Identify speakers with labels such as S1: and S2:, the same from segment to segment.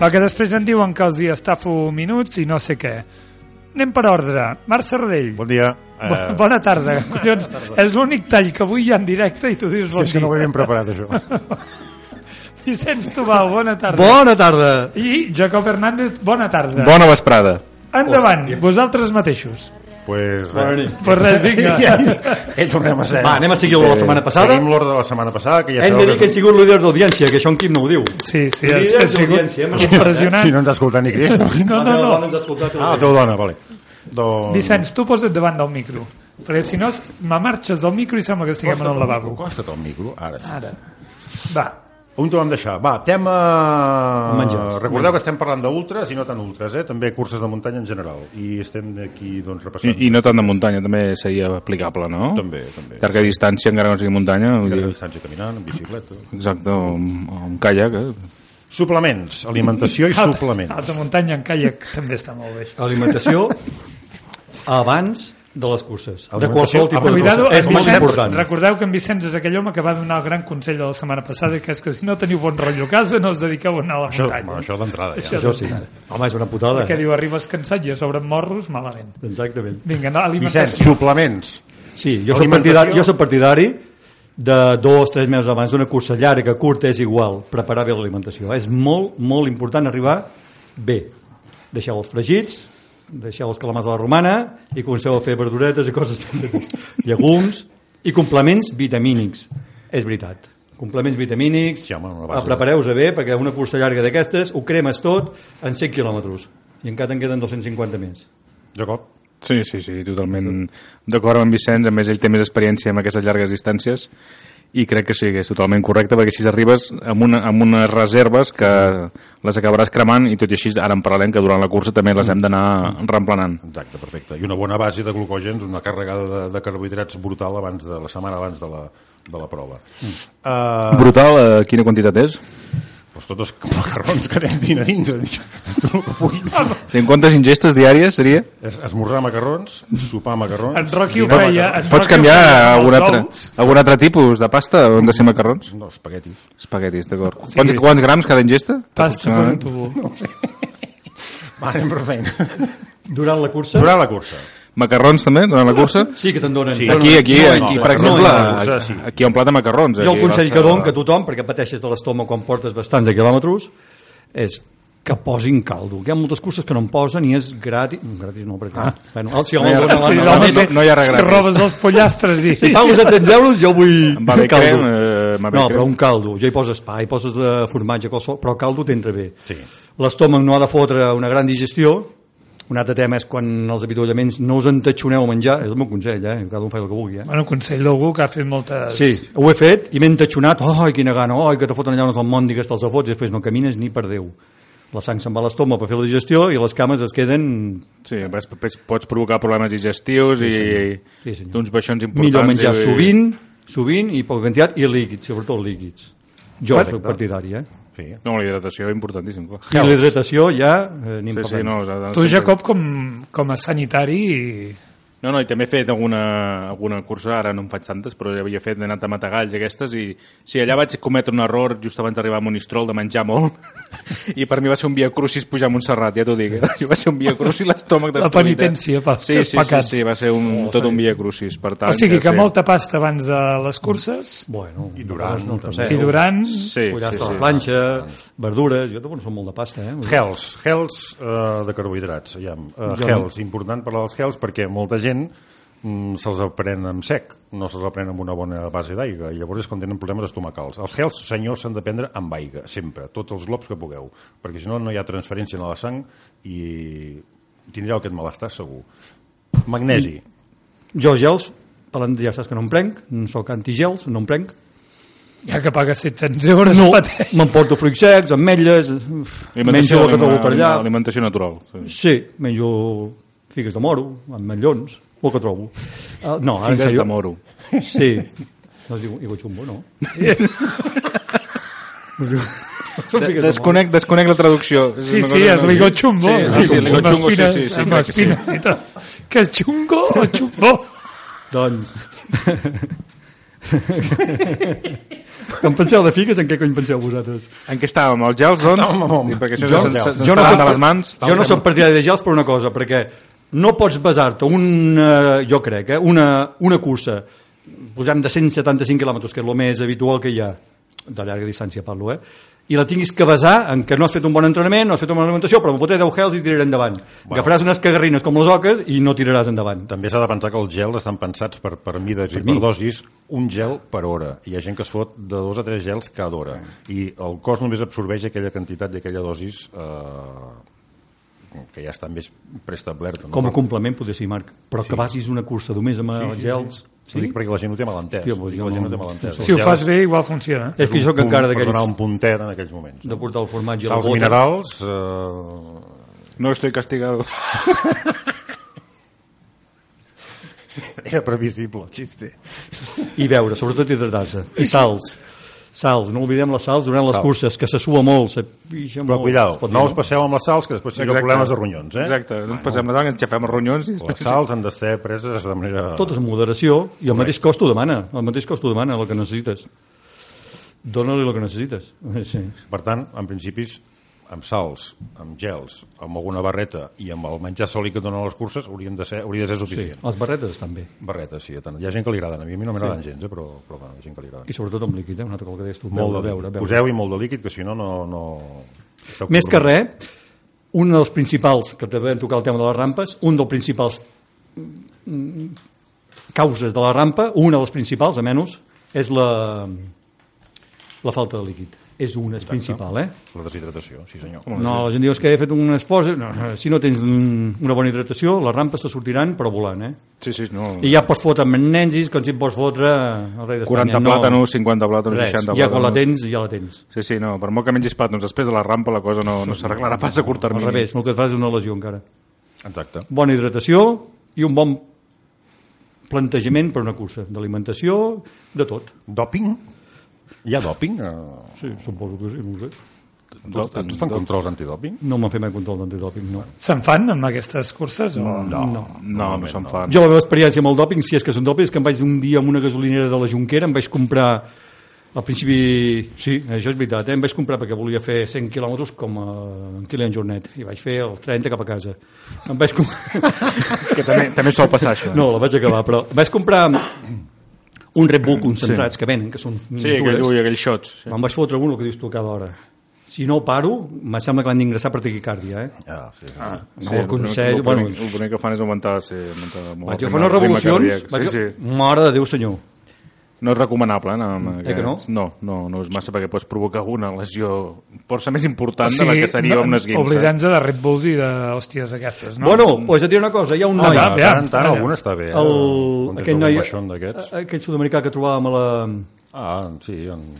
S1: Va, que després en diuen que els hi estafo minuts i no sé què. Anem per ordre. Marc Sardell.
S2: Bon dia. Eh,
S1: Bo- Bona tarda. Collons, és l'únic tall que avui hi ha en directe i tu dius
S2: Hòstia,
S1: bon
S2: és que no ho
S1: dia.
S2: havíem preparat, això.
S1: Vicenç Tubau, bona tarda.
S3: Bona tarda.
S1: I Jacob Hernández, bona tarda.
S4: Bona vesprada.
S1: Endavant, vosaltres mateixos.
S2: pues,
S3: Bona
S2: res.
S3: nit.
S1: Pues res, vinga.
S2: ja, ja hi tornem a ser.
S3: Va, anem a seguir l'ordre de la setmana passada.
S2: Tenim l'ordre de la setmana passada, que ja
S3: Hem de dir
S2: sabeu
S3: que he sigut líder d'audiència, que això en Quim no ho diu.
S1: Sí, sí,
S3: Líders
S1: ha sigut
S3: d'audiència, hem escoltat,
S2: Si
S1: impressionant.
S2: no ens ha escoltat ni Crist.
S1: No, no, no.
S3: no.
S2: Ah, teu dona, vale. Doncs...
S1: Vicenç, tu posa't davant del micro, perquè si no me marxes del micro i sembla que estiguem en el lavabo.
S2: Costa't el micro, ara. sí.
S1: Ara. Va,
S2: On te vam deixar? Va, tema...
S3: Menjars.
S2: Recordeu que estem parlant d'ultres i no tan ultres, eh? També curses de muntanya en general. I estem d'aquí, doncs, repassant.
S4: I, I no tant de muntanya, també seria aplicable, no?
S2: També, també.
S4: Llarga distància, encara que no sigui muntanya. vull
S2: Llarga
S4: dir,
S2: distància caminant, en bicicleta...
S4: Exacte, o amb- o amb caiac, eh?
S2: Suplements, alimentació i
S1: Ah,
S2: suplements.
S1: alta muntanya en caiac també està molt bé.
S3: Alimentació abans de les curses. De
S2: Alimentació
S3: qualsevol tipus
S2: abans.
S3: de
S1: Cuidado,
S3: cursa. És
S1: en
S3: molt
S1: Vicenç,
S3: important.
S1: recordeu que en Vicenç és aquell home que va donar el gran consell de la setmana passada, que és que si no teniu bon rotllo a casa no us dediqueu a anar a la
S2: Això,
S1: muntanya.
S2: bueno, això d'entrada, ja.
S3: Això sí. Home, és una putada.
S1: Que diu, arribes cansat i a sobre amb morros, malament.
S3: Exactament.
S1: Vinga, no,
S2: Vicenç,
S1: alimentació.
S2: suplements.
S3: Sí, jo soc,
S2: Alimentació.
S3: partidari, jo soc partidari de dos, tres mesos abans d'una cursa llarga, curta, és igual, preparar bé l'alimentació. És molt, molt important arribar bé. Deixeu els fregits, deixeu els calamars a la romana i comenceu a fer verduretes i coses llegums i complements vitamínics. És veritat. Complements vitamínics,
S2: Sí, home, una base.
S3: ah, prepareu-vos bé, perquè una cursa llarga d'aquestes ho cremes tot en 100 quilòmetres i encara en queden 250 més.
S2: Jacob.
S4: Sí, sí, sí, totalment d'acord amb en Vicenç. A més, ell té més experiència amb aquestes llargues distàncies i crec que sí, que és totalment correcte, perquè així arribes amb, una, amb unes reserves que les acabaràs cremant i tot i així ara en parlarem que durant la cursa també les hem d'anar reemplenant.
S2: Exacte, perfecte. I una bona base de glucògens, una carregada de, de carbohidrats brutal abans de la setmana abans de la, de la prova. Mm.
S4: Brutal, eh, quina quantitat és?
S2: Uh, doncs tots els macarrons que anem dint a dintre. Tot el que puguis.
S4: 50 ingestes diàries seria?
S2: Es, esmorzar macarrons, sopar macarrons...
S1: En Rocky ho
S2: dinar
S1: feia...
S2: macarrons.
S1: en
S4: Pots
S1: Rocky ho
S4: canviar
S1: feia amb
S4: algun
S1: els
S4: altre,
S1: ous.
S4: algun altre tipus de pasta on de ser macarrons?
S2: No, espaguetis.
S4: Espaguetis, d'acord. Quants, quants grams cada ingesta?
S1: Pasta per un tubo.
S2: Va, anem per feina.
S3: Durant la cursa...
S2: Durant la cursa.
S4: Macarrons també, durant la cursa?
S3: Sí que te'n donen.
S2: Sí.
S3: Donen-
S4: Aquí, aquí,
S2: No, no,
S4: aquí,
S2: no,
S4: per
S2: no, no,
S4: exemple,
S2: no, no, sí.
S4: aquí hi ha un plat de macarrons. eh,
S3: Jo el
S4: aquí,
S3: consell que
S4: basta-
S3: dono que tothom, perquè pateixes de l'estoma quan portes bastants de quilòmetres, és que posin caldo. que Hi ha moltes curses que no en posen i és gratis... Gratis no, perquè... Ah. Bueno, el, si el
S4: No hi ha-
S3: dona la-
S4: sí,
S3: la-
S4: no,
S3: la- la-
S4: home, sí. no hi
S1: és
S4: ha
S1: que
S4: regret.
S1: robes els pollastres i...
S3: Si pagues 700 euros, jo vull
S4: Em va bé
S3: caldo.
S4: crem, eh, em va bé
S3: no,
S4: crem.
S3: però un caldo. Jo hi poses pa, hi poses eh, formatge, qualsevol, però caldo t'entra bé.
S2: Sí.
S3: L'estómac no ha de fotre una gran digestió. Un altre tema és quan els avituallaments no us entatxoneu a menjar. És el meu consell, eh? Cada un fa el que vulgui, eh?
S1: Bueno, consell d'algú que ha fet moltes...
S3: Sí, ho he fet i m'he entatxonat. Ai, quina gana, ai, que te foten allà unes almòndigues, te'ls fots i després no camines ni per Déu. La sang se'n va a l'estoma per fer la digestió i les cames es queden
S4: Sí, vas- pots- pots provocar problemes digestius i
S3: Sí, senyor.
S4: uns baixons importants.
S3: millor menjar
S4: i-
S3: sovint, sovint i poca quantitat i líquids, sobretot líquids. Jo
S2: Correcte.
S3: soc partidari, eh?
S2: Sí.
S4: No, la hidratació és importantíssim, clar.
S3: I l'hidratació ja eh, ni en
S4: Sí, sí,
S3: parlem.
S4: no, s'ha de-
S1: Tu,
S4: sempre-
S1: Jacob, com, com a sanitari...
S4: No, no, i també he fet alguna, alguna cursa, ara no en faig tantes, però ja havia fet, he anat a Matagalls i aquestes, i sí, allà vaig cometre un error just abans d'arribar a Monistrol de menjar molt, i per mi va ser un via crucis pujar a Montserrat, ja t'ho dic, eh? va ser un via crucis l'estómac
S1: La
S4: d'estolitat.
S1: penitència pels
S4: sí,
S1: teus
S4: sí, sí,
S1: pecats.
S4: sí, va ser un, tot un via crucis, per tant...
S1: O sigui que
S4: sí.
S1: molta pasta abans de les curses
S3: Bueno,
S2: I durant,
S3: no el
S2: també.
S3: passeu.
S1: i durant...
S4: Sí,
S3: Pollastre
S4: sí,
S3: a la
S4: sí.
S3: planxa, verdures... Jo tampoc no som molt de pasta, eh?
S2: Gels, gels eh, de carbohidrats. Ja, eh,
S3: Jo no.
S2: gels, important parlar dels gels perquè molta gent mm, se'ls pren en sec, no se'ls pren amb una bona base d'aigua, i llavors és quan tenen problemes estomacals. Els gels, senyors, s'han de prendre amb aigua, sempre, tots els globs que pugueu, perquè si no, no hi ha transferència en la sang i tindreu aquest malestar segur. Magnesi.
S3: Jo gels, parlant de- ja saps que no em prenc, no sóc antigels, no em prenc.
S1: Ja que pagues 700 euros,
S3: No,
S1: pateix.
S3: m'emporto fruits secs, ametlles, uf, menjo
S4: Alimentació,
S3: el que trobo per allà.
S4: Alimentació natural. Sí.
S3: Sí, menjo figues de moro, ametllons, el que trobo. Uh, no, ara en
S4: Figues
S3: sèrio.
S4: de moro.
S3: Sí. No es diu iguachumbo, no? Són figues de moro.
S4: Desconec, desconec la traducció. És
S1: Sí,
S4: una
S1: sí,
S4: cosa-
S1: és l'Igo Chumbo.
S4: Sí, sí, sí, l'Igo Chumbo, sí,
S1: espines,
S4: sí, sí,
S1: amb
S4: crec que sí.
S1: espines i tot. Que és xungo o xumbo?
S3: Doncs... Em penseu de figues, en què cony penseu vosaltres?
S4: En què estàvem? Els gels, doncs?
S2: Estàvem amb-
S4: I perquè això
S2: Jo-
S4: se'ns se, se,
S2: jo no
S4: no
S2: soc-
S4: de les mans.
S3: Jo no soc partidari de gels per una cosa, perquè no pots basar-te una, jo crec, eh, una, una cursa, posem de 175 quilòmetres, que és el més habitual que hi ha, de llarga distància parlo, eh? i la tinguis que basar en que no has fet un bon entrenament, no has fet una bona alimentació, però em fotré 10 gels i tiraré endavant. Wow. Agafaràs unes cagarrines com les oques i no tiraràs endavant.
S2: També s'ha de pensar que els gels estan pensats per, per mides i per
S3: mi.
S2: dosis, un gel per hora. Hi ha gent que es fot de dos a tres gels cada hora. I el cos només absorbeix aquella quantitat i aquella dosis eh, que ja està més preestablerta. No?
S3: Com a complement, potser sí, Marc, però sí. que basis una cursa només amb sí, els gels...
S2: Sí? Dic perquè la gent ho té malentès.
S3: Hòstia, pues
S2: Dic,
S3: jo
S2: la gent
S3: no-
S2: ho té malentès.
S1: Si ho
S2: Els
S1: fas
S2: gels
S1: bé, igual funciona.
S3: És que jo soc
S2: punt
S3: encara
S2: Per donar
S3: d'aquells
S2: un puntet en aquells moments.
S3: de portar el formatge a la
S2: Sals
S3: bota.
S2: minerals, eh,
S4: No estoy castigado.
S2: era previsible, el xiste.
S3: i beure, sobretot hidratar-se. I salts. Salts, no oblidem les salts durant les
S2: Sals.
S3: curses, que se sua molt, se pixa
S2: Però
S3: molt. Es
S2: cuidao,
S3: pot dir,
S2: no us passeu amb les sals, que després tindreu
S4: Exacte.
S2: problemes de ronyons, eh?
S4: Exacte. Ens passem davant, ens xafem els ronyons. I...
S2: Les sals han de ser preses de manera...
S3: Tot és moderació i el mateix cost t'ho demana, el mateix cost t'ho demana, el que necessites. Dóna-li el que necessites. Sí.
S2: Per tant, en principis, amb salts, amb gels, amb alguna barreta i amb el menjar sòlid que donen a les curses hauríem de ser, hauria de ser
S3: sí.
S2: suficient.
S3: Les barretes estan bé.
S2: Sí. Barretes, sí. de Tant. Hi ha gent que li agraden. A mi, a mi no m'agraden gens, eh, però, però bueno, hi ha gent que li agraden.
S3: I sobretot amb líquid, eh? una altra cosa que deies tu,
S2: Molt
S3: beure,
S2: de
S3: beure,
S2: líquid.
S3: beure.
S2: Poseu-hi molt de líquid, que si no, no... no... esteu
S3: Més que
S2: compromesos.
S3: res, un dels principals, que també hem tocat el tema de les rampes, un dels principals mm, causes de la rampa, una de les principals, a menys, és la, la falta de líquid. És una, és principal, eh?
S2: La deshidratació, sí senyor.
S3: No, la gent diu "És que he fet un esforç... No, no, si no tens mm, una bona hidratació, les rampes te sortiran, però volant, eh?
S4: Sí, sí, no.
S3: I ja pots fotre amb nenzis, com si et pots fotre el rei d'Espanya.
S4: 40
S3: no,
S4: plàtanos, 50 plàtanos,
S3: res,
S4: 60
S3: ja quan la
S4: plàtanos.
S3: tens, ja la tens.
S4: Sí, sí, no, per molt que mengis plàtans, després de la rampa la cosa no, no s'arreglarà pas a curt
S3: Al
S4: termini.
S3: revés, el que et fas és una lesió encara.
S2: Exacte.
S3: bona hidratació i un bon plantejament per una cursa d'alimentació, de tot.
S2: Doping? Hi ha doping? Eh,
S3: Sí, suposo que sí, no ho sé.
S2: Tots, tots fan controls antidoping?
S3: No me'n fem mai control d'antidòping, no.
S1: Se'n fan amb aquestes curses? O...
S2: No, no,
S4: No, no se'n fan.
S3: Jo la meva experiència amb el dòping, si és que és un dòping, és que em vaig un dia amb una gasolinera de la Junquera, em vaig comprar al principi, sí, això és veritat, eh? em vaig comprar perquè volia fer 100 quilòmetres com a en Kilian Jornet, i vaig fer els 30 cap a casa. Em vaig comprar...
S4: Que també, també sol passar això.
S3: No, la vaig acabar, però vaig comprar un Red Bull concentrats sí. que venen, que són
S4: Sí, aquell, ui, aquells shots. Sí.
S3: Me'n vaig fotre un, el que dius tu, cada hora. Si no paro, em sembla que l'han d'ingressar per taquicàrdia, eh?
S2: Ah, sí, sí.
S3: No el consell...
S4: El,
S3: Bueno,
S4: bueno, el primer que fan és augmentar... Sí, augmentar molt
S3: vaig a
S4: el
S3: fer unes
S4: ritme
S3: revolucions...
S4: cardíac.
S3: Vaig...
S4: Sí, sí.
S3: Mare de Déu, senyor.
S4: No és recomanable, eh? Amb
S3: Eh que no?
S4: aquests. no? No, no és massa perquè pots provocar una lesió força més important
S1: O
S4: de la que seria
S1: no-
S4: una esguinça.
S1: Oblidem-nos de Red Bulls i de hòsties aquestes, no?
S3: Bueno, doncs et diré una cosa, hi ha un
S1: Ah,
S3: noi...
S1: va,
S2: De
S1: bé.
S2: tant en tant, algun està bé. Eh?
S3: el...
S2: Quan tens
S3: Aquell
S2: algun
S3: noi... Eh,
S2: baixón d'aquests.
S3: a- Aquell sud-americà que trobàvem a la...
S2: Ah, sí, en...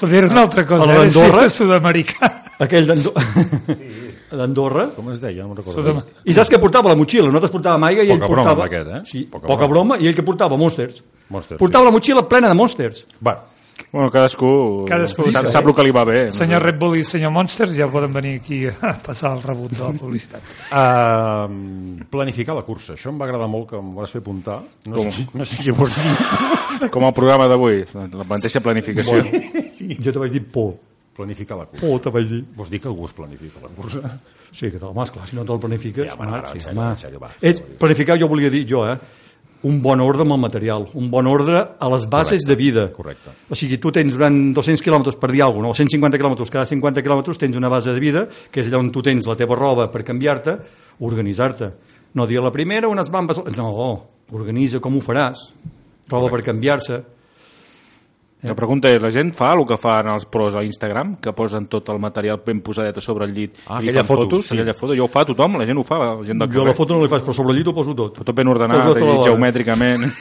S1: Poder una altra cosa,
S3: el
S1: eh? Sí,
S3: d'Andorra?
S1: sud-americà.
S3: Aquell d'Ando- d'Andorra.
S2: com es deia? No me'n recordo.
S1: Sud-am-
S3: I saps que portava la motxilla? Nosaltres portàvem aigua i
S2: Poca
S3: ell
S2: broma,
S3: portava...
S2: amb aquest, eh?
S3: Sí,
S2: Poca
S3: poca,
S2: broma.
S3: broma. i ell que portava Monsters.
S2: Monsters,
S3: portava la motxilla plena de Monsters.
S2: Bueno,
S4: Bueno, cadascú,
S1: Cadascú
S4: sap,
S1: sí.
S4: sap el que li va bé.
S1: Senyor Red Bull i senyor Monsters ja poden venir aquí a passar el rebut de la publicitat.
S2: Uh, planificar la cursa. Això em va agradar molt que em vas fer apuntar. No
S4: Com?
S2: sé, no sé què vols dir.
S4: Com el programa d'avui, la, la mateixa planificació.
S3: Jo te vaig dir por.
S2: Planificar la cursa.
S3: Por te vaig dir.
S2: Vols dir que algú es planifica la cursa?
S3: Sí, que te, home, esclar, si no te'l planifiques...
S2: Ja, bueno,
S3: home,
S2: ara, en
S3: sí,
S2: sèrio,
S3: home.
S2: en sèrio, va.
S3: Ets, planificar, jo volia dir, jo, eh? un bon ordre amb el material, un bon ordre a les bases de vida.
S2: correcte.
S3: O sigui, tu tens durant 200 quilòmetres per dir alguna cosa, o 150 quilòmetres, cada 50 quilòmetres tens una base de vida, que és allà on tu tens la teva roba per canviar-te, organitzar-te. No dir a la primera unes bambes... No, organitza com ho faràs. Roba per canviar-se.
S4: La pregunta és, la gent fa el que fan els pros a Instagram, que posen tot el material ben posadet a sobre el llit
S2: Ah,
S4: i li
S2: aquella
S4: fan
S2: foto,
S4: fotos?
S2: sí.
S4: Aquella foto, jo ho fa tothom, la gent ho fa, la gent del
S3: Jo
S4: carrer.
S3: la foto no li fas, però sobre el llit ho poso tot.
S4: Tot ben
S3: Poso
S1: Doncs
S4: ordenat,
S3: tota la
S4: i
S3: dona.
S4: geomètricament.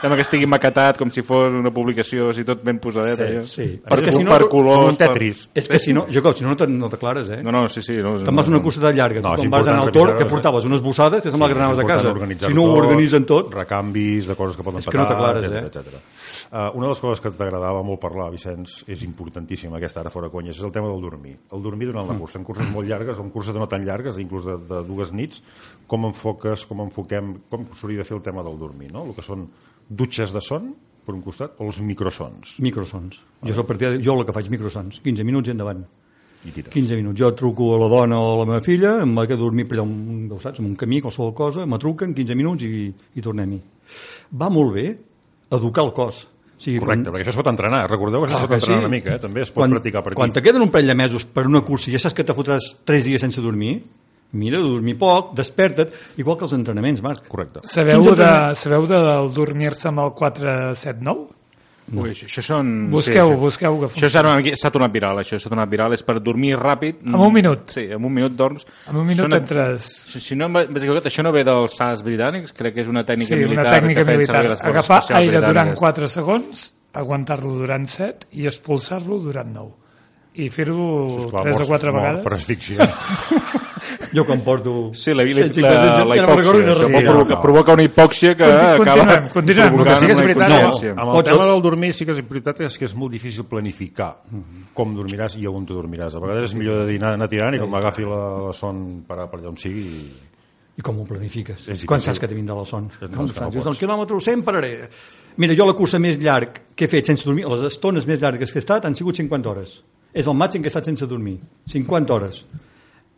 S4: Sembla que estigui maquetat com si fos una publicació, així tot ben posadet.
S2: Sí,
S4: allò.
S3: sí.
S4: Per,
S3: És que si
S4: col-
S3: no-
S4: per colors...
S2: com un Tetris.
S4: Per...
S3: És que si no, Jacob, si no, no te- no t'aclares, eh?
S4: No, no, sí, sí. No,
S3: Te'n vas una curseta llarga,
S2: No,
S3: no,
S2: és
S3: quan vas anar al
S2: important
S3: tor,
S2: revisar-
S3: que portaves unes bussades, que sembla sí, que anaves a casa. Si no ho organitzen tot,
S2: Recanvis de coses que poden
S3: És que no t'aclares,
S2: etcètera,
S3: eh?
S2: etcètera. Uh, una de les coses que t'agradava molt parlar, Vicenç, és importantíssima aquesta ara fora conyes, és el tema del dormir. El dormir durant
S3: Mm.
S2: la cursa, en curses molt llargues, o en curses no tan llargues, inclús de, de dues nits, com enfoques, com enfoquem, com s'hauria de fer el tema del dormir, no? El que són dutxes de son, per un costat o els microsons?
S3: Microsons. Jo, és el partit, jo el que faig, microsons. 15 minuts i endavant.
S2: I tira.
S3: 15 minuts. Jo truco a la dona o a la meva filla, em va quedar a dormir per allà, un, ja ho saps, en un camí, qualsevol cosa, me truquen 15 minuts i, i tornem-hi. Va molt bé educar el cos. O sigui,
S2: Correcte, perquè això es pot entrenar. Recordeu que això
S3: Clar
S2: es pot entrenar una mica, eh? també es pot
S3: Ah, quan,
S2: practicar per aquí.
S3: Quan te queden un parell de mesos per una cursa i ja saps que te fotràs 3 dies sense dormir, mira, dormir poc, desperta't, igual que els entrenaments, Marc.
S2: Correcte.
S1: Sabeu,
S3: Quins
S1: de,
S3: entrenaments?
S1: sabeu del dormir-se amb el 479?
S4: No. Ui, això, això són...
S1: Busqueu, busqueu que
S4: Això s'ha s'ha tornat viral, això s'ha tornat viral. És per dormir ràpid.
S1: En un minut.
S4: Sí, en un minut dorms.
S1: En un minut
S4: Són-
S1: entres...
S4: Si, si no, em va- vaig equivocat, això no ve dels SAS britànics, crec que és una tècnica
S1: Sí,
S4: militar.
S1: una tècnica
S4: que feien
S1: militar.
S4: servir les forces
S1: Agafar
S4: especials
S1: aire durant
S4: britàniques.
S1: 4 segons, aguantar-lo durant 7 i expulsar-lo durant 9. I fer-ho 3 o 4
S2: mort
S1: vegades.
S2: Per asfíxia.
S3: Jo quan porto...
S4: Sí, la, la,
S3: 150,
S4: la, la
S3: ja no me'n recordo
S4: hipòxia.
S2: Sí,
S3: ni res.
S4: Això pot
S2: no,
S4: provocar,
S2: no.
S4: provoca una hipòxia que
S1: Conti-
S4: acaba
S1: continuem, continuem.
S4: provocant
S1: El
S2: sí que és
S4: una
S2: veritat,
S4: inconsciència.
S3: inconsciència.
S2: amb, amb el
S3: Pots-
S2: tema del dormir sí que és veritat és que és molt difícil planificar com dormiràs i on te dormiràs. A vegades és millor de dinar, anar tirant i com agafi la, la son parar per allà on sigui. I...
S3: I com ho planifiques?
S2: difícil.
S3: Quan saps que te vindrà la son? Com ho
S2: no
S3: saps?
S2: pots.
S3: Dius, el Doncs quilòmetre 100 pararé. Mira, jo la cursa més llarg que he fet sense dormir, les estones més llargues que he estat han sigut 50 hores. És el màxim que he estat sense dormir. 50 hores.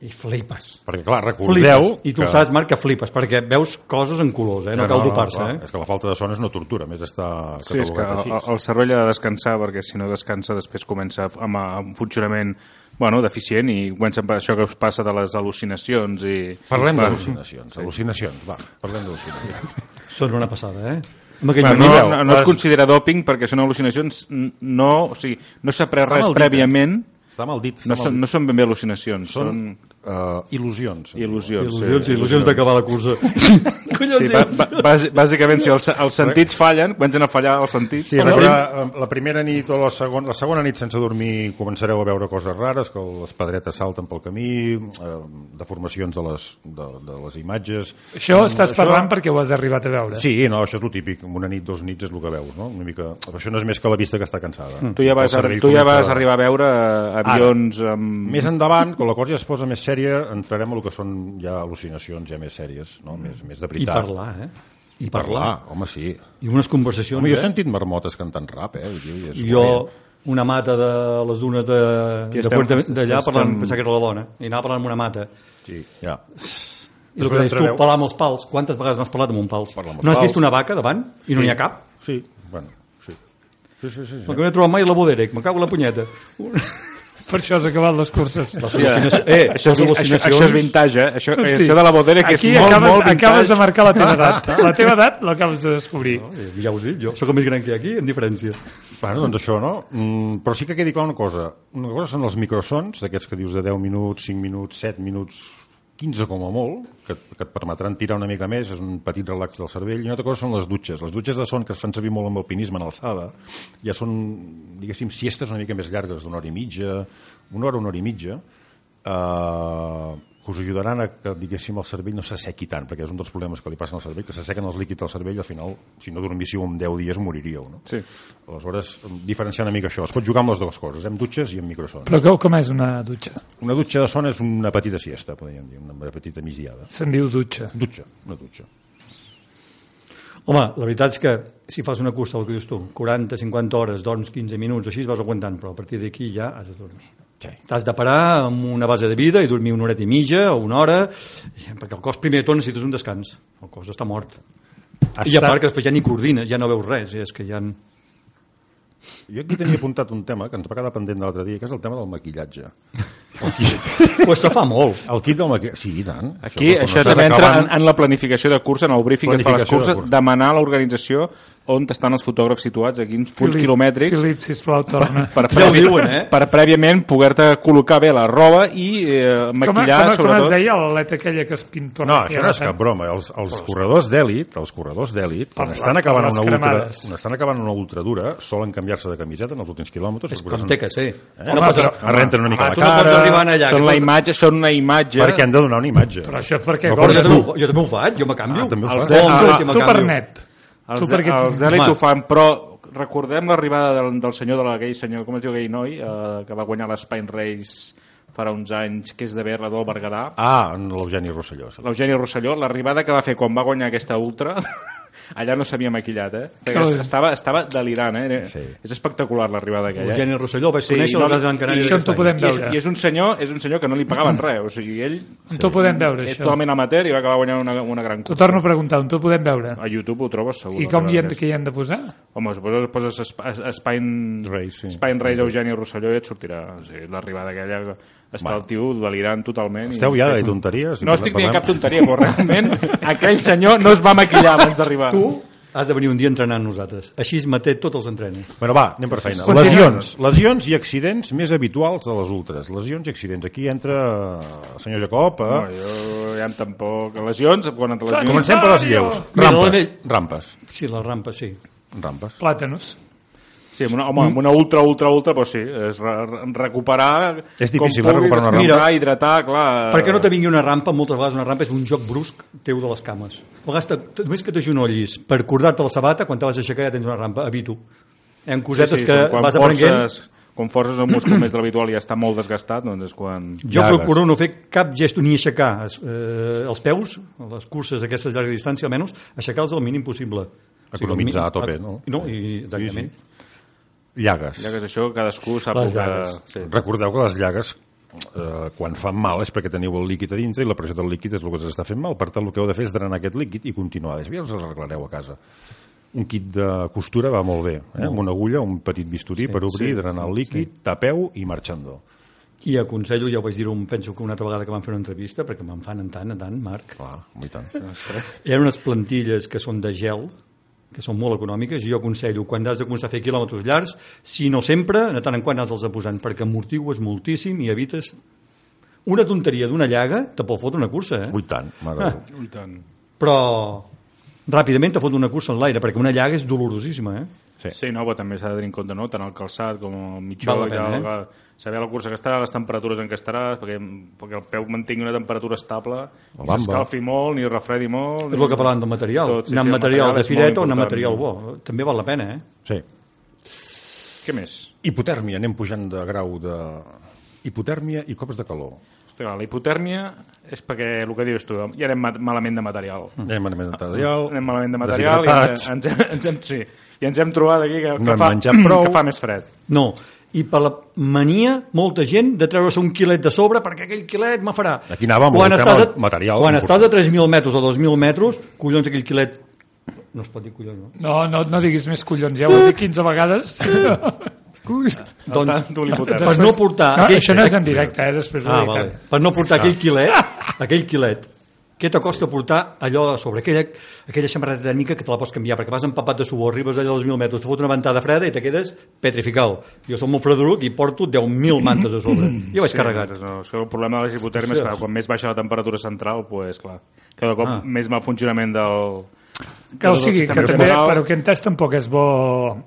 S3: I flipes.
S2: Perquè, clar, recordeu...
S3: Flipes. I tu
S2: que-
S3: que... saps, Marc, que flipes, perquè veus coses en colors, eh? No cal dopar-se,
S2: clar,
S3: eh?
S2: És que la falta de son és una tortura, a més està
S4: Sí, és que
S2: catalogat
S4: el,
S2: així.
S4: el cervell ha de descansar perquè si no descansa després comença amb, amb un funcionament bueno, deficient i comença amb això que us passa de les al·lucinacions i...
S2: Parlem
S4: Bueno,
S2: d'al·lucinacions, al·lucinacions, va, parlem d'al·lucinacions.
S3: Són una passada, eh? Amb aquell moment,
S4: Bueno, no,
S2: mireu,
S4: no, no es
S2: les-
S4: considera doping perquè són al·lucinacions n- no, o sigui, no s'ha pres res
S2: mal dit,
S4: prèviament
S2: Està mal dit, està
S4: no
S2: mal
S4: són,
S2: dit.
S4: no són ben bé al·lucinacions són,
S2: Són eh, il·lusions.
S4: il·lusions,
S3: il·lusions,
S4: sí.
S3: il·lusions d'acabar la cursa. Collons,
S4: Sí,
S3: sí,
S4: ba- ba- bàs- bàsicament, si els, els sentits fallen, comencen a fallar els sentits.
S2: Sí, recordar, eh, la primera nit o la segona, la segona nit sense dormir començareu a veure coses rares, que les pedretes salten pel camí, eh, deformacions de les, de, de les imatges...
S1: Això
S2: Mm,
S1: estàs parlant perquè ho has arribat a veure.
S2: Sí, no, això és el típic, en una nit, dos nits és el que veus, no? Una mica... Això no és més que la vista que està cansada.
S4: Mm. Tu ja vas,
S2: El cervell
S4: tu ja
S2: comença-
S4: vas arribar a veure eh, avions amb...
S2: Més endavant, quan la cosa ja es posa més sèria, entrarem a el que són ja al·lucinacions ja més sèries, no? Més, més de
S3: I
S2: veritat.
S3: parlar, eh? I parlar.
S2: home, sí.
S3: I unes conversacions,
S2: Home, jo he
S3: eh?
S2: sentit marmotes cantant rap, eh? Vull dir, és
S3: jo una mata de les dunes de,
S4: Aquí
S3: de
S4: estem,
S3: Puerta d'allà
S4: estem-
S3: parlant,
S4: estem-
S3: pensava que era la dona, i anava parlant amb una mata.
S2: eh? Sí, ja.
S3: I el que
S2: Després
S3: deies tu,
S2: entreveu.
S3: pelar amb els pals. Quantes vegades no has parlat amb un pals?
S2: Parlar amb els
S3: No has vist
S2: pals.
S3: una vaca davant i no n'hi ha cap?
S2: Sí, bueno, sí. Sí, sí, sí.
S3: El que no he trobat mai és la Boderec, me cago en la punyeta.
S1: Per això has acabat les curses.
S3: Les
S4: Ja.
S3: al·lucinacions... Eh,
S4: això, és,
S3: les
S4: això,
S3: al·lucinacions...
S4: això és vintage, eh? Això, sí.
S1: Sí.
S4: això de la bodera que és
S1: Aquí
S4: molt,
S1: acabes,
S4: molt vintage.
S1: acabes de marcar la teva edat. La teva edat l'acabes de descobrir.
S3: Eh, Ja ho he dit, jo sóc el més gran que hi ha aquí, en diferència.
S2: Bueno, doncs això, no? Mm, però sí que quedi clar una cosa. Una cosa són els microsons, d'aquests que dius de 10 minuts, 5 minuts, 7 minuts, 15 com a molt, que, que et permetran tirar una mica més, és un petit relax del cervell. I una altra cosa són les dutxes. Les dutxes de son que es fan servir molt amb alpinisme en alçada ja són, diguéssim, siestes una mica més llargues, d'una hora i mitja, una hora, una hora i mitja, eh, que us ajudaran a que, diguéssim, el cervell no s'assequi tant, perquè és un dels problemes que li passen al cervell, que s'assequen els líquids al cervell i al final, si no dormíssiu en 10 dies, moriríeu, no?
S4: Sí.
S2: Aleshores, diferenciar una mica això. Es pot jugar amb les dues coses, eh? amb dutxes i amb microsons.
S1: Però com, com és una dutxa?
S2: Una dutxa de son és una petita siesta, podríem dir, una petita migdiada.
S1: Se'n diu dutxa.
S2: Dutxa, una dutxa.
S3: Home, la veritat és que si fas una cursa, el que dius tu, 40, 50 hores, dorms 15 minuts, així vas aguantant, però a partir d'aquí ja has de dormir.
S2: Sí.
S3: T'has de parar amb una base de vida i dormir una horeta i mitja o una hora, i- perquè el cos primer de tot necessites un descans. El cos està mort.
S2: Ha
S3: I a part
S2: estat-
S3: que després ja ni coordines, ja no veus res. És que ja... n-
S2: Jo aquí tenia apuntat un tema que ens va quedar pendent de l'altre dia, que és el tema del maquillatge. El kit,
S3: Ho estrafar molt.
S2: el kit del maquillatge... Sí, i tant.
S4: Aquí
S2: quan
S4: això
S2: estàs
S4: també entra
S2: acabant-
S4: en, en la planificació de cursa, en el briefing que es fa a les
S2: Planificació de
S4: curses,
S2: cursa.
S4: demanar a l'organització on estan els fotògrafs situats, a quins punts
S1: Filip-
S4: quilomètrics,
S1: Filip, sisplau, torna.
S4: per,
S3: Ja ho diuen, eh?
S4: per prèviament poder-te col·locar bé la roba i eh,
S1: Com,
S4: maquillar,
S1: com, com es
S4: sobretot.
S1: deia l'atleta aquella que es pintora?
S2: No, això no és cap broma. Els, els corredors d'èlit, els corredors d'èlit, quan
S1: Per
S2: estan
S1: la-
S2: acabant
S1: per les
S2: una ultra,
S1: cremades.
S2: quan estan acabant una ultradura, solen canviar-se de camiseta en els últims quilòmetres. perquè
S3: Com
S2: són-
S3: té que ser.
S2: Eh? No, però, es renten una mica
S3: Ah,
S2: la
S3: tu no pots
S2: cara,
S3: arribar allà.
S4: són
S3: que
S4: la
S3: tu-
S4: imatge, són una imatge...
S2: perquè han de donar una imatge.
S1: Però això és perquè
S2: No,
S3: Però
S2: Corre
S3: jo també,
S2: tu.
S3: ho, jo també ho faig, jo me canvio.
S2: Ah, també ho
S3: Els
S2: fas.
S3: dos,
S4: Ah,
S3: dos,
S4: ah,
S3: i me
S1: tu per
S3: canvio.
S1: net.
S4: Els,
S1: Tu perquè
S4: els d'elit
S3: Home.
S4: ho fan, però recordem l'arribada del, del senyor de l'Aguell, senyor, com es diu aquell noi, eh, que va guanyar l'Espine Race farà uns anys, que és de Berla del Berguedà.
S2: Ah, en l'Eugeni Rosselló. sí.
S4: L'Eugeni Rosselló, l'arribada que va fer quan va guanyar aquesta ultra, Allà no s'havia maquillat, eh? Perquè
S1: Clar.
S4: estava, estava delirant, eh? Era-
S2: Sí.
S4: És espectacular l'arribada aquella. eh?
S3: Eugeni Rosselló, el vaig
S4: Sí,
S3: conèixer
S4: no,
S3: a la Casa Gran Canària
S1: i això en
S3: d'aquest
S1: t'ho podem
S3: any.
S4: I és,
S1: veure.
S4: I és un senyor, és un senyor que no li pagaven res, o sigui, ell
S1: On t'ho podem veure,
S4: és
S1: això?
S4: totalment amateur i va acabar guanyant una, una gran
S1: T'ho
S4: cursa.
S1: torno a preguntar, on t'ho podem veure?
S4: A YouTube ho trobes segur.
S1: I com hi hem,
S4: de...
S1: que hi hem de posar?
S4: Home, suposo que poses Sp- es- Spine...
S2: Reis, sí.
S4: Spine Reis, Eugeni Rosselló i et sortirà. O sigui, l'arribada aquella que està el tio delirant totalment. i-
S2: Esteu ja de tonteries?
S4: No estic dient cap tonteria, però realment aquell senyor no es va maquillar abans d'arribar.
S3: Tu has de venir un dia a entrenar amb nosaltres. Així es maté tots els entrenos.
S2: Bueno, va, anem per feina.
S1: Continuem.
S2: Lesions. Lesions i accidents més habituals a les ultres. Lesions i accidents. Aquí entra eh, el senyor Jacob.
S4: No,
S2: Eh?
S4: jo ja em tampoc. Lesions, quan et lesiones...
S2: Comencem per les lleus.
S3: Mira,
S2: Rampes.
S3: l'Anell-
S2: Rampes.
S3: Sí, la rampa, sí.
S2: Rampes.
S1: Plàtanos.
S4: Sí, amb una, home, amb una ultra, ultra, ultra, però sí, és re re- recuperar...
S2: És difícil,
S4: com
S2: eh, recuperar una
S4: descansar,
S3: rampa.
S4: hidratar, clar...
S3: Per què no te vingui una rampa? Moltes vegades una rampa és un joc brusc teu de les cames. A vegades te- només que t'agenollis per acordar-te la sabata, quan te vas aixecar ja tens una rampa, habito. Hi ha cosetes sí, sí, que
S4: quan
S3: vas aprenent...
S4: forces- Quan forces un múscul més de l'habitual i està molt desgastat, doncs és quan...
S3: Jo
S2: Llagues.
S3: procuro no fer cap gest ni aixecar es- eh, els peus, a les curses d'aquestes llarga distància almenys, aixecar-los el mínim possible. O sigui, el mínim-
S2: Economitzar a tope, no?
S3: No, i, exactament.
S2: Sí, Llagues.
S4: Ja que és això, cadascú sap
S3: Les
S4: el que...
S3: llagues.
S4: Sí.
S2: Recordeu que les llagues eh, quan fan mal és perquè teniu el líquid a dintre i la pressió del líquid és el que us està fent mal. Per tant, el que heu de fer és drenar aquest líquid i continuar. Després ja us els arreglareu a casa. Un kit de costura va molt bé, eh? amb una agulla, un petit bisturí sí, per obrir, sí, drenar el líquid, sí. tapeu i marxando.
S3: I aconsello, ja ho vaig dir, un, penso que una altra vegada que vam fer una entrevista, perquè me'n fan en tant, en tant, Marc,
S2: Clar, i tant.
S3: hi ha unes plantilles que són de gel, que són molt econòmiques, i jo aconsello, quan has de començar a fer quilòmetres llargs, si no sempre, de tant en quant has els de posant, perquè amortigues moltíssim i evites... Una tonteria d'una llaga te pot fotre una cursa, eh?
S2: Ui, tant, mare de Déu.
S4: Ui, tant.
S3: però ràpidament te fot una cursa en l'aire, perquè una llaga és dolorosíssima, eh?
S2: Sí.
S4: Sí, sí no, però també s'ha de tenir en compte, no?, tant el calçat com el mitjó,
S3: Val la
S4: i
S3: pena,
S4: tal, eh? saber la cursa que estarà, les temperatures en què estarà, perquè, perquè el peu mantingui una temperatura estable,
S2: La
S4: ni
S2: bamba.
S4: s'escalfi molt, ni refredi
S3: És
S4: molt...
S3: el que parlàvem del material.
S4: Tot, sí,
S3: anar
S4: sí,
S3: amb
S4: el
S3: material
S4: material
S3: de
S4: és molt
S3: fireta o anar amb material
S4: important.
S3: bo. També val la pena, eh?
S2: Sí.
S4: Què més?
S2: Hipotèrmia, anem pujant de grau de... Hipotèrmia i cops de calor.
S4: Clar, la hipotèrmia és perquè el que dius tu, ja anem ma- malament de material.
S2: Anem malament de material,
S4: Anem malament de material i ens,
S2: deshidratats.
S4: ens, hem, ens, hem, sí, i ens hem trobat aquí que, que,
S2: No hem
S4: fa,
S2: menjat prou.
S4: que fa més fred.
S3: No. I per la mania, molta gent, de treure-se un quilet de sobre perquè aquell quilet me farà...
S2: Aquí anàvem,
S3: quan
S2: el tema
S3: estàs a,
S2: del material,
S3: Quan
S2: important.
S3: estàs a 3.000 metres o 2.000 metres, collons, aquell quilet... No es pot dir collons, no?
S1: No, no, no diguis més collons, ja ho he dit 15 vegades.
S4: No
S3: Doncs,
S4: tant, tu l'hipotèrmia.
S3: per no portar...
S1: No,
S3: aquell-
S1: això no és Ah. en directe, eh? després ho
S3: Ah,
S1: dic.
S3: vale. Per no portar aquell quilet, aquell quilet, què t'acosta portar allò a sobre? Aquella, aquella samarreta tèrmica que te la pots canviar, perquè vas empapat de suor, arribes allà als 1.000 metres, te fot una ventada freda i te quedes petrificat. Jo som molt fredoruc i porto 10.000 mantes a sobre. Jo vaig carregat.
S4: doncs No, és que el problema de les hipotèrmies,
S3: Sí.
S4: clar, quan més baixa la temperatura central, pues, clar, cada cop
S3: Ah.
S4: més mal funcionament del...
S1: Que, o
S4: del
S1: sigui,
S4: sistema
S1: que també,
S4: hormonal.
S1: però que entès tampoc és bo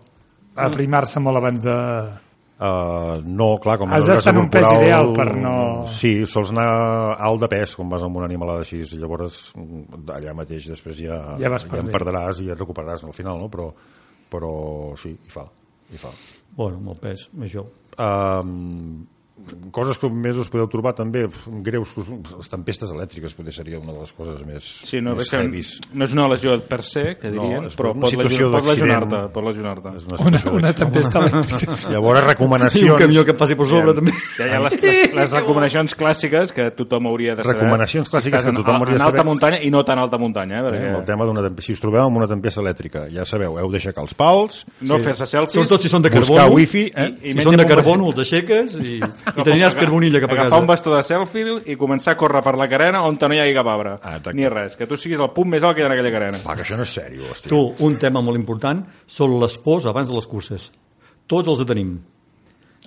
S1: aprimar-se molt abans de...
S2: Uh, no, clar, com
S1: Has
S2: una
S1: d'estar en un pes
S2: grasa corporal,
S1: ideal per no-
S2: Sí, sols anar alt de pes quan vas amb una animalada així, llavors mm, allà mateix després ja,
S1: Ja vas
S2: ja en
S1: perdent.
S2: perdràs i ja et recuperaràs al final, no? Però, però sí, hi fa. Hi fa.
S3: Bueno, molt pes, això.
S2: Um, coses que més us podeu trobar també, pf, greus, les tempestes elèctriques potser seria una de les coses més,
S4: Sí, no,
S2: més
S4: és que
S2: heavies.
S4: no és una lesió per se, que
S2: No,
S4: dirien,
S2: és
S4: però
S2: una
S4: pot
S2: situació
S4: lesionar- pot
S2: d'accident.
S4: lesionar-te. Pot lesionar-te.
S2: És una
S1: Una,
S2: situació
S1: una
S2: d'ex-
S1: tempesta elèctrica.
S2: Llavors,
S3: I un camió
S2: recomanacions,
S3: que passi per sobre, també.
S4: Ja hi ha les, les, les recomanacions clàssiques que tothom hauria de saber.
S2: Recomanacions clàssiques
S4: Si estàs
S2: que tothom
S4: en-
S2: hauria de
S4: En alta
S2: saber.
S4: muntanya i no tan alta muntanya, eh?
S2: eh,
S4: Perquè
S2: amb el tema d'una tempesta, si us trobeu amb una tempesta elèctrica, ja sabeu, heu d'aixecar els pals,
S4: no fer-se selfies...
S3: Sobretot si són de
S2: Buscar
S3: carbono.
S2: wifi, eh?
S4: I- i
S3: si
S4: menja
S3: són de
S4: bombolla.
S3: carbono, els aixeques i, i teniràs carbonilla cap a
S4: Agafar
S3: casa.
S4: un bastó de selfie i començar a córrer per la carena on no hi hagi cap arbre.
S2: Ah, exacte.
S4: Ni res, que tu siguis el punt més alt que hi ha en aquella carena.
S2: Va, que això no és sèrio, hòstia.
S3: Tu, un tema molt important són les pors abans de les curses. Tots els tenim.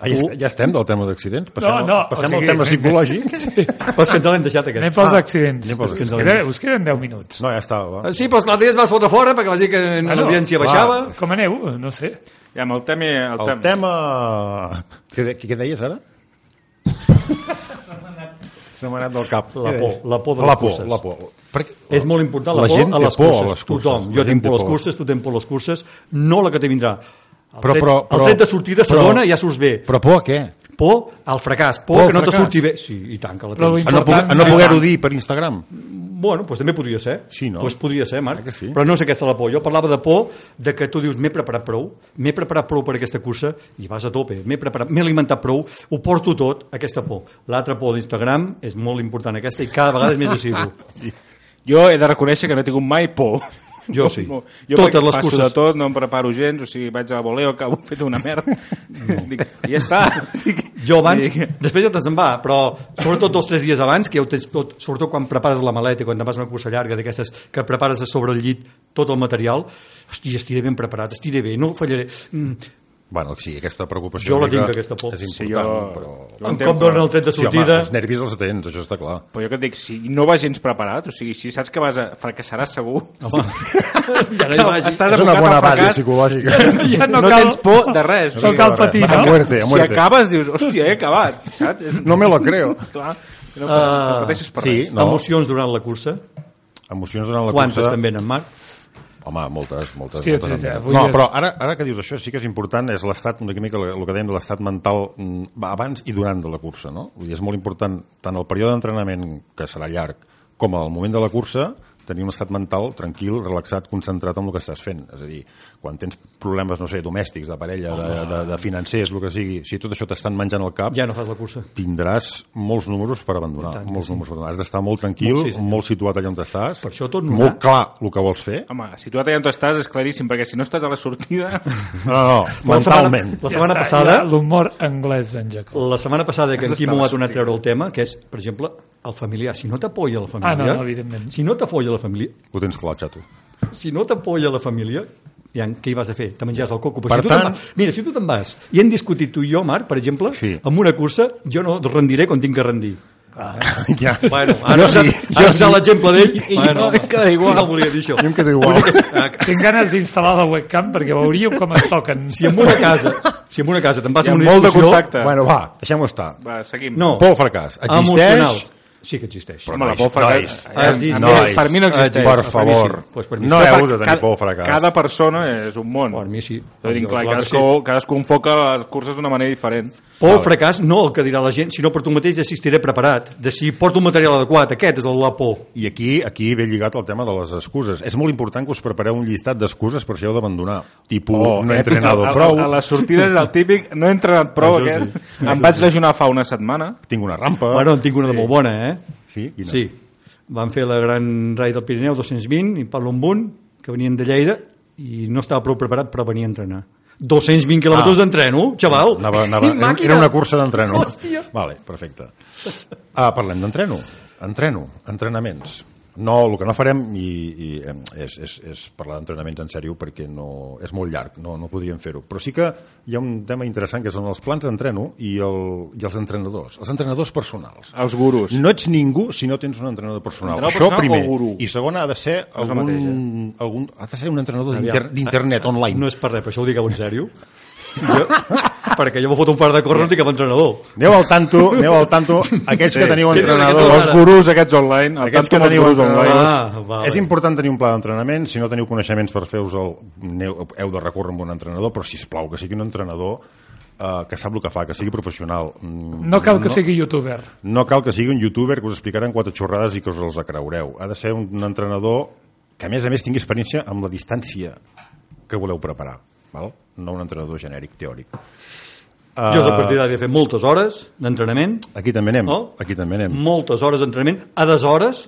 S2: Ah, ja,
S3: Tu-
S2: est- ja estem del tema d'accidents? Passem, al-
S1: no,
S2: passem
S1: o sigui-
S2: al tema psicològic?
S3: Però és que ens l'hem deixat aquest. Ah.
S1: Anem pels accidents.
S2: anem pels
S1: Us queden-
S3: accidents.
S1: Us queden 10 minuts.
S2: No, ja està, va.
S3: Ah, Sí, però l'altre dia es vas fotre fora perquè vas dir que
S1: Ah, no?
S3: l'audiència
S1: Va.
S3: baixava.
S1: Com aneu? No sé.
S4: I amb el tema... El,
S2: El
S4: tema.
S2: tema... Què, de- què deies ara? S'ha manat del cap.
S3: La
S2: Què
S3: por,
S2: deies?
S3: la por de
S2: la
S3: les
S2: por,
S3: curses.
S2: la por. Per què?
S3: És molt important
S2: La
S3: la,
S2: gent
S3: por a
S2: té
S3: les
S2: por a
S3: curses.
S2: les curses.
S3: Tothom.
S2: La
S3: Jo
S2: gent
S3: tinc por a
S2: té
S3: les
S2: por.
S3: curses, tu tens por a les curses, no la que te vindrà. El
S2: Però-
S3: tret,
S2: però- però-
S3: el tret de sortida
S2: però-
S3: s'adona i ja surts bé.
S2: Però por a què?
S3: Por al fracàs, por,
S2: Por al
S3: que no te
S2: fracàs.
S3: surti bé. Sí, i tant que la
S1: Però
S3: tens.
S2: A no, poder, a no poder-ho dir per Instagram.
S3: Bueno, doncs també podria ser.
S2: Sí, no?
S3: Doncs podria ser,
S2: Ah,
S3: Marc.
S2: que sí?
S3: Però no és aquesta la por. Jo parlava de por de que tu dius, m'he preparat prou, m'he preparat prou per aquesta cursa i vas a tope. M'he preparat, m'he alimentat prou, ho porto tot, aquesta por. L'altra por d'Instagram és molt important aquesta i cada vegada és més assidu.
S4: Jo he de reconèixer que no he tingut mai por.
S3: Jo sí.
S4: No,
S3: Totes les
S4: passo
S3: curses.
S4: de tot, no em preparo gens, o sigui, vaig a voleo, acabo fet una merda. Dic, ja està.
S3: Jo abans,
S4: Dic,
S3: després ja te'n va, però sobretot dos o tres dies abans, que ja ho tens tot, sobretot quan prepares la maleta, quan te'n vas a una cursa llarga d'aquestes que prepares a sobre el llit tot el material, hosti, estiré ben preparat, estiré bé, no fallaré. Mm,
S2: Bueno, sí, aquesta preocupació...
S3: Jo la
S2: una mica
S3: tinc, aquesta por.
S2: És
S4: Sí,
S2: important,
S4: jo-
S2: però...
S4: Jo
S3: un
S4: entenc,
S3: cop dona el tret de
S2: Sí, home,
S3: sortida...
S2: els nervis els tens, això està clar.
S4: Però jo que et dic, si no vas gens preparat, o sigui, si saps que vas a... fracassaràs segur,
S3: Home, ja no hi vagis.
S4: Estàs
S2: és una
S4: abocat
S2: bona
S4: al
S2: base
S4: fracàs.
S2: psicològica.
S4: ja no,
S1: No
S4: no
S1: cal-
S4: tens por de res.
S1: No cal patir,
S2: Vas a
S1: no?
S2: muerte, a
S4: si
S2: muerte.
S4: acabes, dius, hòstia, he acabat, saps? És,
S2: No me lo creo.
S4: Clar, que no, uh,
S3: Ah.
S4: no pateixes per
S2: Sí,
S4: res.
S2: no.
S3: Emocions durant la cursa?
S2: Emocions durant la
S3: Quantes
S2: cursa.
S3: també en Marc?
S2: Home, moltes, moltes.
S1: Sí,
S2: moltes
S1: sí, sí,
S2: em-
S1: avui
S2: no,
S1: és-
S2: però ara, ara que dius això sí que és important, és l'estat, una mica el que dèiem de l'estat mental mm, va, abans i durant de la cursa, no? Vull dir, és molt important, tant el període d'entrenament, que serà llarg, com al moment de la cursa, tenir un estat mental tranquil, relaxat, concentrat en el que estàs fent. És a dir, quan tens problemes, no sé, domèstics, de parella, de, de, de financers, el que sigui, si tot això t'estan menjant el cap,
S3: Ja no fas la cursa.
S2: tindràs molts números per abandonar.
S3: tant que
S2: molts números per abandonar. Has d'estar molt tranquil,
S3: Molt, sí,
S2: molt,
S3: senyor.
S2: molt situat allà on estàs,
S3: Per això tot no
S2: molt
S3: va.
S2: clar el que vols fer,
S4: Home, situat allà on estàs és claríssim, perquè si no estàs a la sortida...
S2: No, no,
S3: La setmana,
S2: mentalment.
S3: la setmana
S1: Ja està,
S3: passada,
S1: ja L'humor anglès d'en Jacob.
S3: la setmana passada que en
S4: Has
S3: Quimo
S4: estat
S3: ha donat a treure el tema, que és, per exemple, el familiar. Si no t'apoya la família...
S1: Ah, no, evidentment.
S3: Si no t'apoya la família,
S2: Ho tens clar, xato.
S3: si no t'apoya la família, ja, què hi vas a fer? Te menjaràs el coco. Però
S2: Per
S3: si tu te'n
S2: tant-
S3: vas- mira, si tu te'n vas, i hem discutit tu i jo, Marc, per exemple,
S2: Sí.
S3: amb una cursa, jo no rendiré quan tinc que rendir.
S2: Ja.
S3: Bueno, ara
S2: Jo
S3: jo
S2: sí,
S3: sí, ara sí. l'exemple d'ell. Bueno,
S4: em quedo igual.
S3: No volia dir això.
S2: Jo em quedo igual.
S3: Vull dir que, ah,
S1: Tinc ganes d'instal·lar la webcam perquè veuríeu com es toquen.
S3: si en una casa, si en una casa te'n vas
S4: Hi
S3: a
S4: ha
S3: una
S4: molt de
S3: discussió...
S4: contacte.
S2: Bueno, va, deixem-ho estar.
S4: Va, seguim.
S3: No.
S2: Por al fracàs.
S3: Emocional.
S2: Existeix?
S3: Sí que existeix.
S2: Però
S4: Home, la
S2: nois,
S4: por al fracàs.
S2: nois,
S3: Ah, sí, sí.
S2: nois,
S4: Per mi no existeix.
S2: Per
S3: Per mi sí.
S2: favor,
S3: Pues per mi sí.
S2: no
S4: Però
S2: heu de tenir
S4: cada-
S2: por al fracàs.
S4: Cada persona és un món.
S3: Per mi sí.
S4: Jo dic,
S3: Clar
S4: clar,
S3: que
S4: cadascú, cadascú enfoca les curses d'una manera diferent.
S3: O el fracàs, no el que dirà la gent, sinó per tu mateix de si estiré preparat, de si porto un material adequat. Aquest és el de la por.
S2: I aquí, aquí ve lligat el tema de les excuses. És molt important que us prepareu un llistat d'excuses per si heu d'abandonar. Tipo, Oh,
S3: Oh,
S2: no
S3: eh,
S2: he entrenado
S4: Eh, a,
S2: prou,
S4: A, a les sortides és el típic, no he entrenat prou
S3: Això
S4: aquest.
S3: sí.
S4: Em vaig lesionar fa una setmana.
S2: tinc una rampa...
S3: Bueno, en tinc una de molt bona, eh?
S2: Sí? Quina?
S3: Sí. Van fer la gran rai del Pirineu 220 i Pablo Munt, que venien de Lleida i no estava prou preparat, però venia a entrenar. 220 quilòmetres
S2: Ah.
S3: d'entreno, xaval.
S2: Anava, anava,
S3: Quin màquina!
S2: era una cursa d'entreno.
S3: Hòstia.
S2: Vale, perfecte. Ah, parlem d'entreno. Entreno, entrenaments. No, el que no farem i, i em, és, és, és parlar d'entrenaments en sèrio perquè no, és molt llarg, no, no podríem fer-ho. Però sí que hi ha un tema interessant que són els plans d'entreno i, el, i els entrenadors, els entrenadors personals.
S4: Els gurus.
S2: No ets ningú si no tens un entrenador personal.
S4: Entrenador
S2: Això
S4: personal
S2: primer.
S4: o guru?
S2: I segon, ha de ser
S4: el
S2: algun,
S4: mateix, eh?
S2: algun, ha de ser un entrenador d'inter- d'internet, online.
S3: No és per res, però això ho digueu en sèrio. Jo, perquè jo m'ho foto un par de córrer, no tinc cap entrenador.
S2: Aneu al tanto, aneu al tanto, aquells que teniu
S3: Tenen
S2: entrenadors,
S3: aquest
S4: Els gurus aquests online. El
S2: Aquests
S4: tanto
S2: que
S4: amb els
S2: teniu
S4: gurus
S2: entrenadors.
S4: online.
S3: Ah, vale.
S2: És important tenir un pla d'entrenament, si no teniu coneixements per fer-vos el... aneu- heu de recórrer amb un entrenador, però si plau que sigui un entrenador eh, que sap el que fa, que sigui professional. Mm,
S1: No cal que sigui youtuber.
S2: No cal que sigui un youtuber que us explicaran quatre xorrades i que us els acreureu. Ha de ser un entrenador que, a més a més, tingui experiència amb la distància que voleu preparar, val? no un entrenador genèric, teòric.
S3: Jo a partir d'ara he fet moltes hores d'entrenament,
S2: Aquí també anem,
S3: No?
S2: aquí també anem.
S3: moltes hores d'entrenament, a deshores,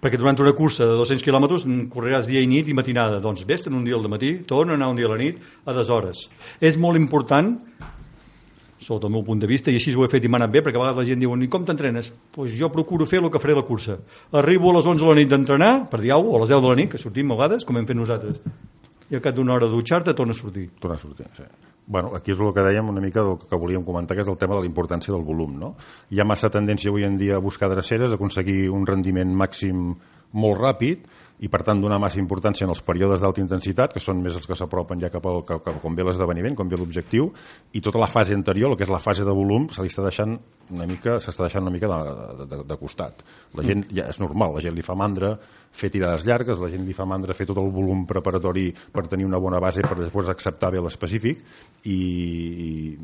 S3: perquè durant una cursa de 200 quilòmetres mm, correràs dia i nit i matinada. Doncs vés un dia al matí, torna a anar un dia a la nit, a deshores. És molt important, sota el meu punt de vista, i així ho he fet i m'ha anat bé, perquè a vegades la gent diu, i com t'entrenes? Doncs pues jo procuro fer el que faré a la cursa. Arribo a les 11 de la nit d'entrenar, per dir alguna cosa, o a les 10 de la nit, que sortim a vegades, com hem fet nosaltres. I al cap d'una hora de dutxar-te torna a sortir.
S2: tornar a sortir. Sí. Bueno, aquí és el que dèiem una mica del que volíem comentar, que és el tema de la importància del volum. No? Hi ha massa tendència avui en dia a buscar dreceres, a aconseguir un rendiment màxim molt ràpid i per tant donar massa importància en els períodes d'alta intensitat, que són més els que s'apropen ja cap, al, cap, cap quan ve l'esdeveniment, quan ve l'objectiu, i tota la fase anterior, el que és la fase de volum, se li està deixant una mica, s'està deixant una mica de, de, de costat. La gent
S3: Mm.
S2: ja és normal, la gent li fa mandra fer tirades llargues, la gent li fa mandra fer tot el volum preparatori per tenir una bona base per després acceptar bé l'específic i, i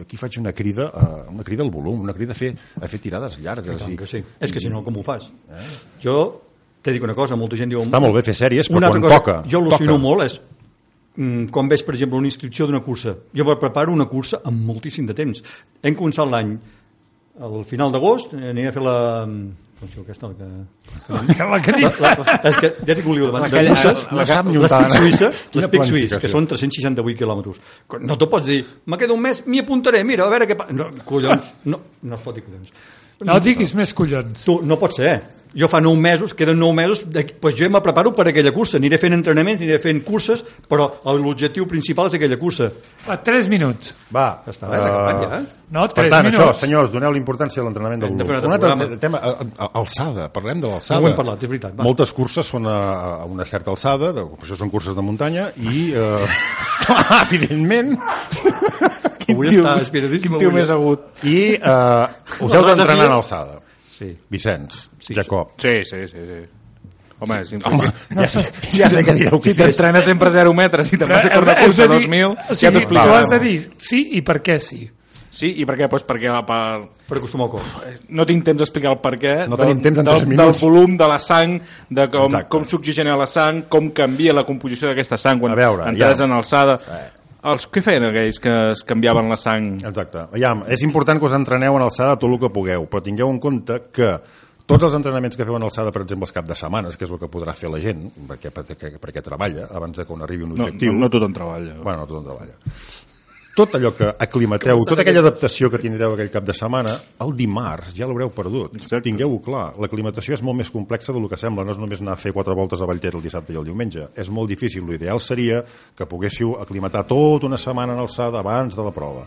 S2: aquí faig una crida, a, una crida al volum, una crida a fer, a fer tirades llargues.
S3: I tant que sí. És que si no, com ho fas? Eh? Jo T'he dit una cosa, molta gent diu...
S2: Està molt bé fer sèries, però
S3: Una altra
S2: quan
S3: cosa,
S2: toca...
S3: jo al·lucino
S2: toca.
S3: molt és mm, quan veig, per exemple, una inscripció d'una cursa. Jo me preparo una cursa amb moltíssim de temps. Hem començat l'any, al final d'agost, aniré a fer la... Com es diu aquesta? La que...
S1: La que
S3: La,
S1: dic,
S3: la, la, és que ja dic oliu davant de
S2: Aquella-
S3: curses.
S2: la- la sap
S3: les
S2: Newton.
S3: Pic Suïsses, les
S2: Quina
S3: Pic Suïsses,
S2: planificació.
S3: que són 368 quilòmetres. No t'ho pots dir, me queda un mes, m'hi apuntaré, mira, a veure què passa. No, collons, no, no es pot dir collons.
S1: no diguis més collons.
S3: Tu, no pot ser. Jo fa nou mesos, queden nou mesos, d'aquí- doncs jo ja me preparo per aquella cursa. Aniré fent entrenaments, aniré fent curses, però l'objectiu principal és aquella cursa.
S1: A 3 minuts.
S2: Va,
S3: Ja està,
S1: Ah.
S3: eh, acabat ja, eh?
S1: No,
S2: Per
S1: 3
S2: tant,
S1: minuts.
S2: això, senyors, doneu la importància a l'entrenament del
S3: Hem de
S2: volum.
S3: fer un
S2: Un
S3: altre
S2: altre te- tema, a- a- alçada, parlem de l'alçada.
S3: No ho hem parlat, és veritat, va.
S2: Moltes curses són a, a una certa alçada, de, per això són curses de muntanya, i, eh, clar, evidentment,
S3: Avui
S4: tio-
S3: està espiritíssim.
S4: Quin tio
S3: avui.
S4: més agut.
S2: i eh, us heu d'entrenar en alçada.
S3: Sí.
S2: Vicenç, Jacob.
S4: Sí, sí, sí, sí. Home, sí,
S2: Home, ja, sé, ja sé que direu que
S4: si
S2: sí.
S4: t'entrenes sempre a 0 metres i te'n
S2: Eh,
S4: vas a córrer una
S1: Heu
S4: cursa
S1: de
S4: a
S1: dir-
S4: 2.000,
S1: o
S4: ja
S1: sigui,
S4: t'explicarem.
S1: tu has de dir sí i per què sí.
S4: Sí, i per què? Pues perquè la part...
S3: Per acostumar el cos.
S4: no tinc temps d'explicar el per què
S2: No tenim temps en
S4: del,
S2: tres minuts.
S4: del volum de la sang de com,
S2: Exacte.
S4: com s'oxigena la sang com canvia la composició d'aquesta sang quan
S2: A veure,
S4: entres
S2: ja.
S4: en alçada
S2: Eh.
S4: els, què feien aquells que es canviaven la sang
S2: Exacte. Aviam, és important que us entreneu en alçada tot el que pugueu, però tingueu en compte que tots els entrenaments que feu en alçada, per exemple, els cap de setmanes, que és el que podrà fer la gent, perquè, perquè, perquè treballa abans de que on arribi un
S4: no,
S2: objectiu...
S4: no, no tothom treballa
S2: Bueno, tothom treballa. Tot allò que aclimateu, tota aquella adaptació que tindreu aquell cap de setmana, el dimarts ja l'haureu perdut.
S4: Exacte.
S2: Tingueu-ho clar. L'aclimatació és molt més complexa del que sembla. No és només anar a fer quatre voltes a Vallter el dissabte i el diumenge. És molt difícil. L'ideal seria que poguéssiu aclimatar tota una setmana en alçada abans de la prova.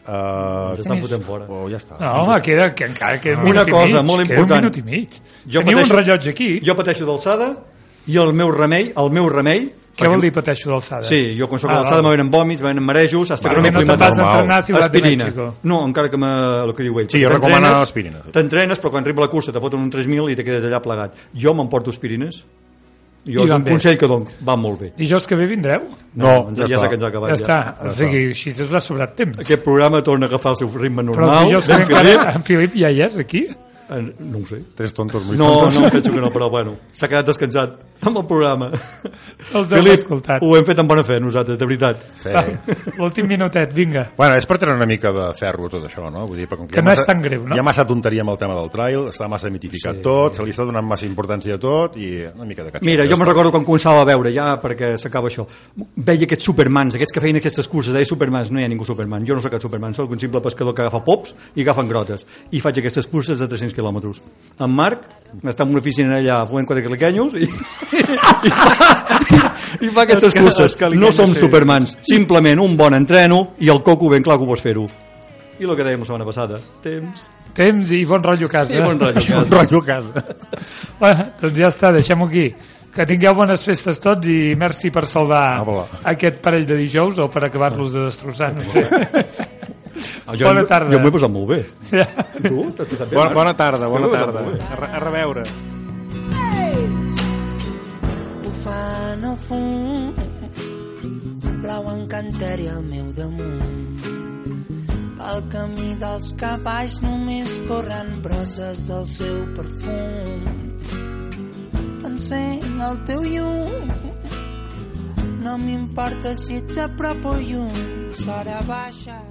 S2: Uh,
S3: Ens estan fotent fora.
S2: Oh, ja està.
S1: No, home, queda, que encara queda un
S3: Una
S1: minut i
S3: cosa
S1: mig,
S3: molt
S1: queda
S3: important.
S1: un minut i mig. Jo Teniu un rellotge aquí. Jo...
S3: Jo pateixo d'alçada i el meu remei, el meu remei...
S1: Què
S3: perquè-
S1: vol dir pateixo d'alçada?
S3: Sí, jo quan soc a
S1: Ah,
S3: l'alçada
S1: val.
S3: me venen vòmits, me venen marejos, hasta que
S1: Perquè
S3: no
S1: no te'n
S3: m'aclimato.
S1: vas a entrenar a Ciutat de
S3: Aspirina.
S1: Mèxico.
S3: No, encara que me, el que diu ell.
S2: Sí,
S3: Perquè
S2: jo recomano
S3: t'entrenes-
S2: aspirina.
S3: T'entrenes, però quan arriba la cursa te foten un 3.000 i te quedes allà plegat. Jo m'emporto aspirines. Jo
S1: I
S3: és
S1: van
S3: un
S1: bé.
S3: consell que dono. Va molt bé.
S1: Dijous que ve vindreu?
S2: No,
S3: ja, ja
S2: està.
S3: sé que ens ha acabat.
S1: ja, està.
S2: ja
S1: O sigui, així us ha sobrat temps.
S3: Aquest programa torna a agafar el seu ritme
S1: Però
S3: normal.
S1: el dijous que
S3: Ben
S1: ve encara...
S3: Felip.
S1: En Filip ja hi és, aquí?
S3: Eh, No ho sé.
S2: Tres tontos, muy
S3: No,
S2: tontos.
S3: no, em penso que no, però bueno, s'ha quedat descansat amb el programa.
S1: Els hem
S3: Felip,
S1: escoltat.
S3: ho hem fet amb bona fe nosaltres, de veritat.
S2: Sí.
S1: L'últim minutet, vinga.
S2: Bueno, és per tenir una mica de ferro tot això, no? Vull dir, perquè com
S1: Que
S2: hi ha
S1: no és tan greu, no?
S2: Hi ha massa tonteria amb el tema del trail, està massa mitificat sí. tot, se li està donant massa importància a tot i una mica de catxó.
S3: Mira, jo me'n recordo quan començava a veure, ja perquè s'acaba això, veia aquests supermans, aquests que feien aquestes curses, deia supermans, no hi ha ningú superman, jo no sóc cap superman, sóc un simple pescador que agafa pops i agafen grotes, i faig aquestes curses de 300 quilòmetres. En Marc està en una oficina allà fent quatre caliquenyos i, i, fa, i fa aquestes
S4: Els ca- els
S3: curses. No
S4: caliquenyos,
S3: som
S4: sí.
S3: supermans, simplement un bon entreno i el coco ben clar que ho pots fer-ho. I el que dèiem la setmana passada, temps
S1: Temps i bon rotllo a casa.
S3: i
S2: Un
S3: bon ratllo.
S2: rotllo que...
S1: Bueno, doncs ja està, deixem-ho aquí. Que tingueu bones festes tots i merci per salvar
S2: Hola.
S1: aquest parell de dijous o per acabar-los de destrossar. No sé. Bona tarda.
S3: Ah, Jo m'ho he posat molt bé.
S1: Ja.
S3: Tu? T'has posat bé,
S4: bona,
S3: Marc?
S4: bona tarda, bona
S3: Saludos,
S4: tarda
S3: molt bé.
S4: a, re- a reveure
S5: bufant el fum blau encanteri al meu damunt pel camí dels cavalls només corren broses del seu perfum encén el teu llum no m'importa si ets a prop o lluny sora baixa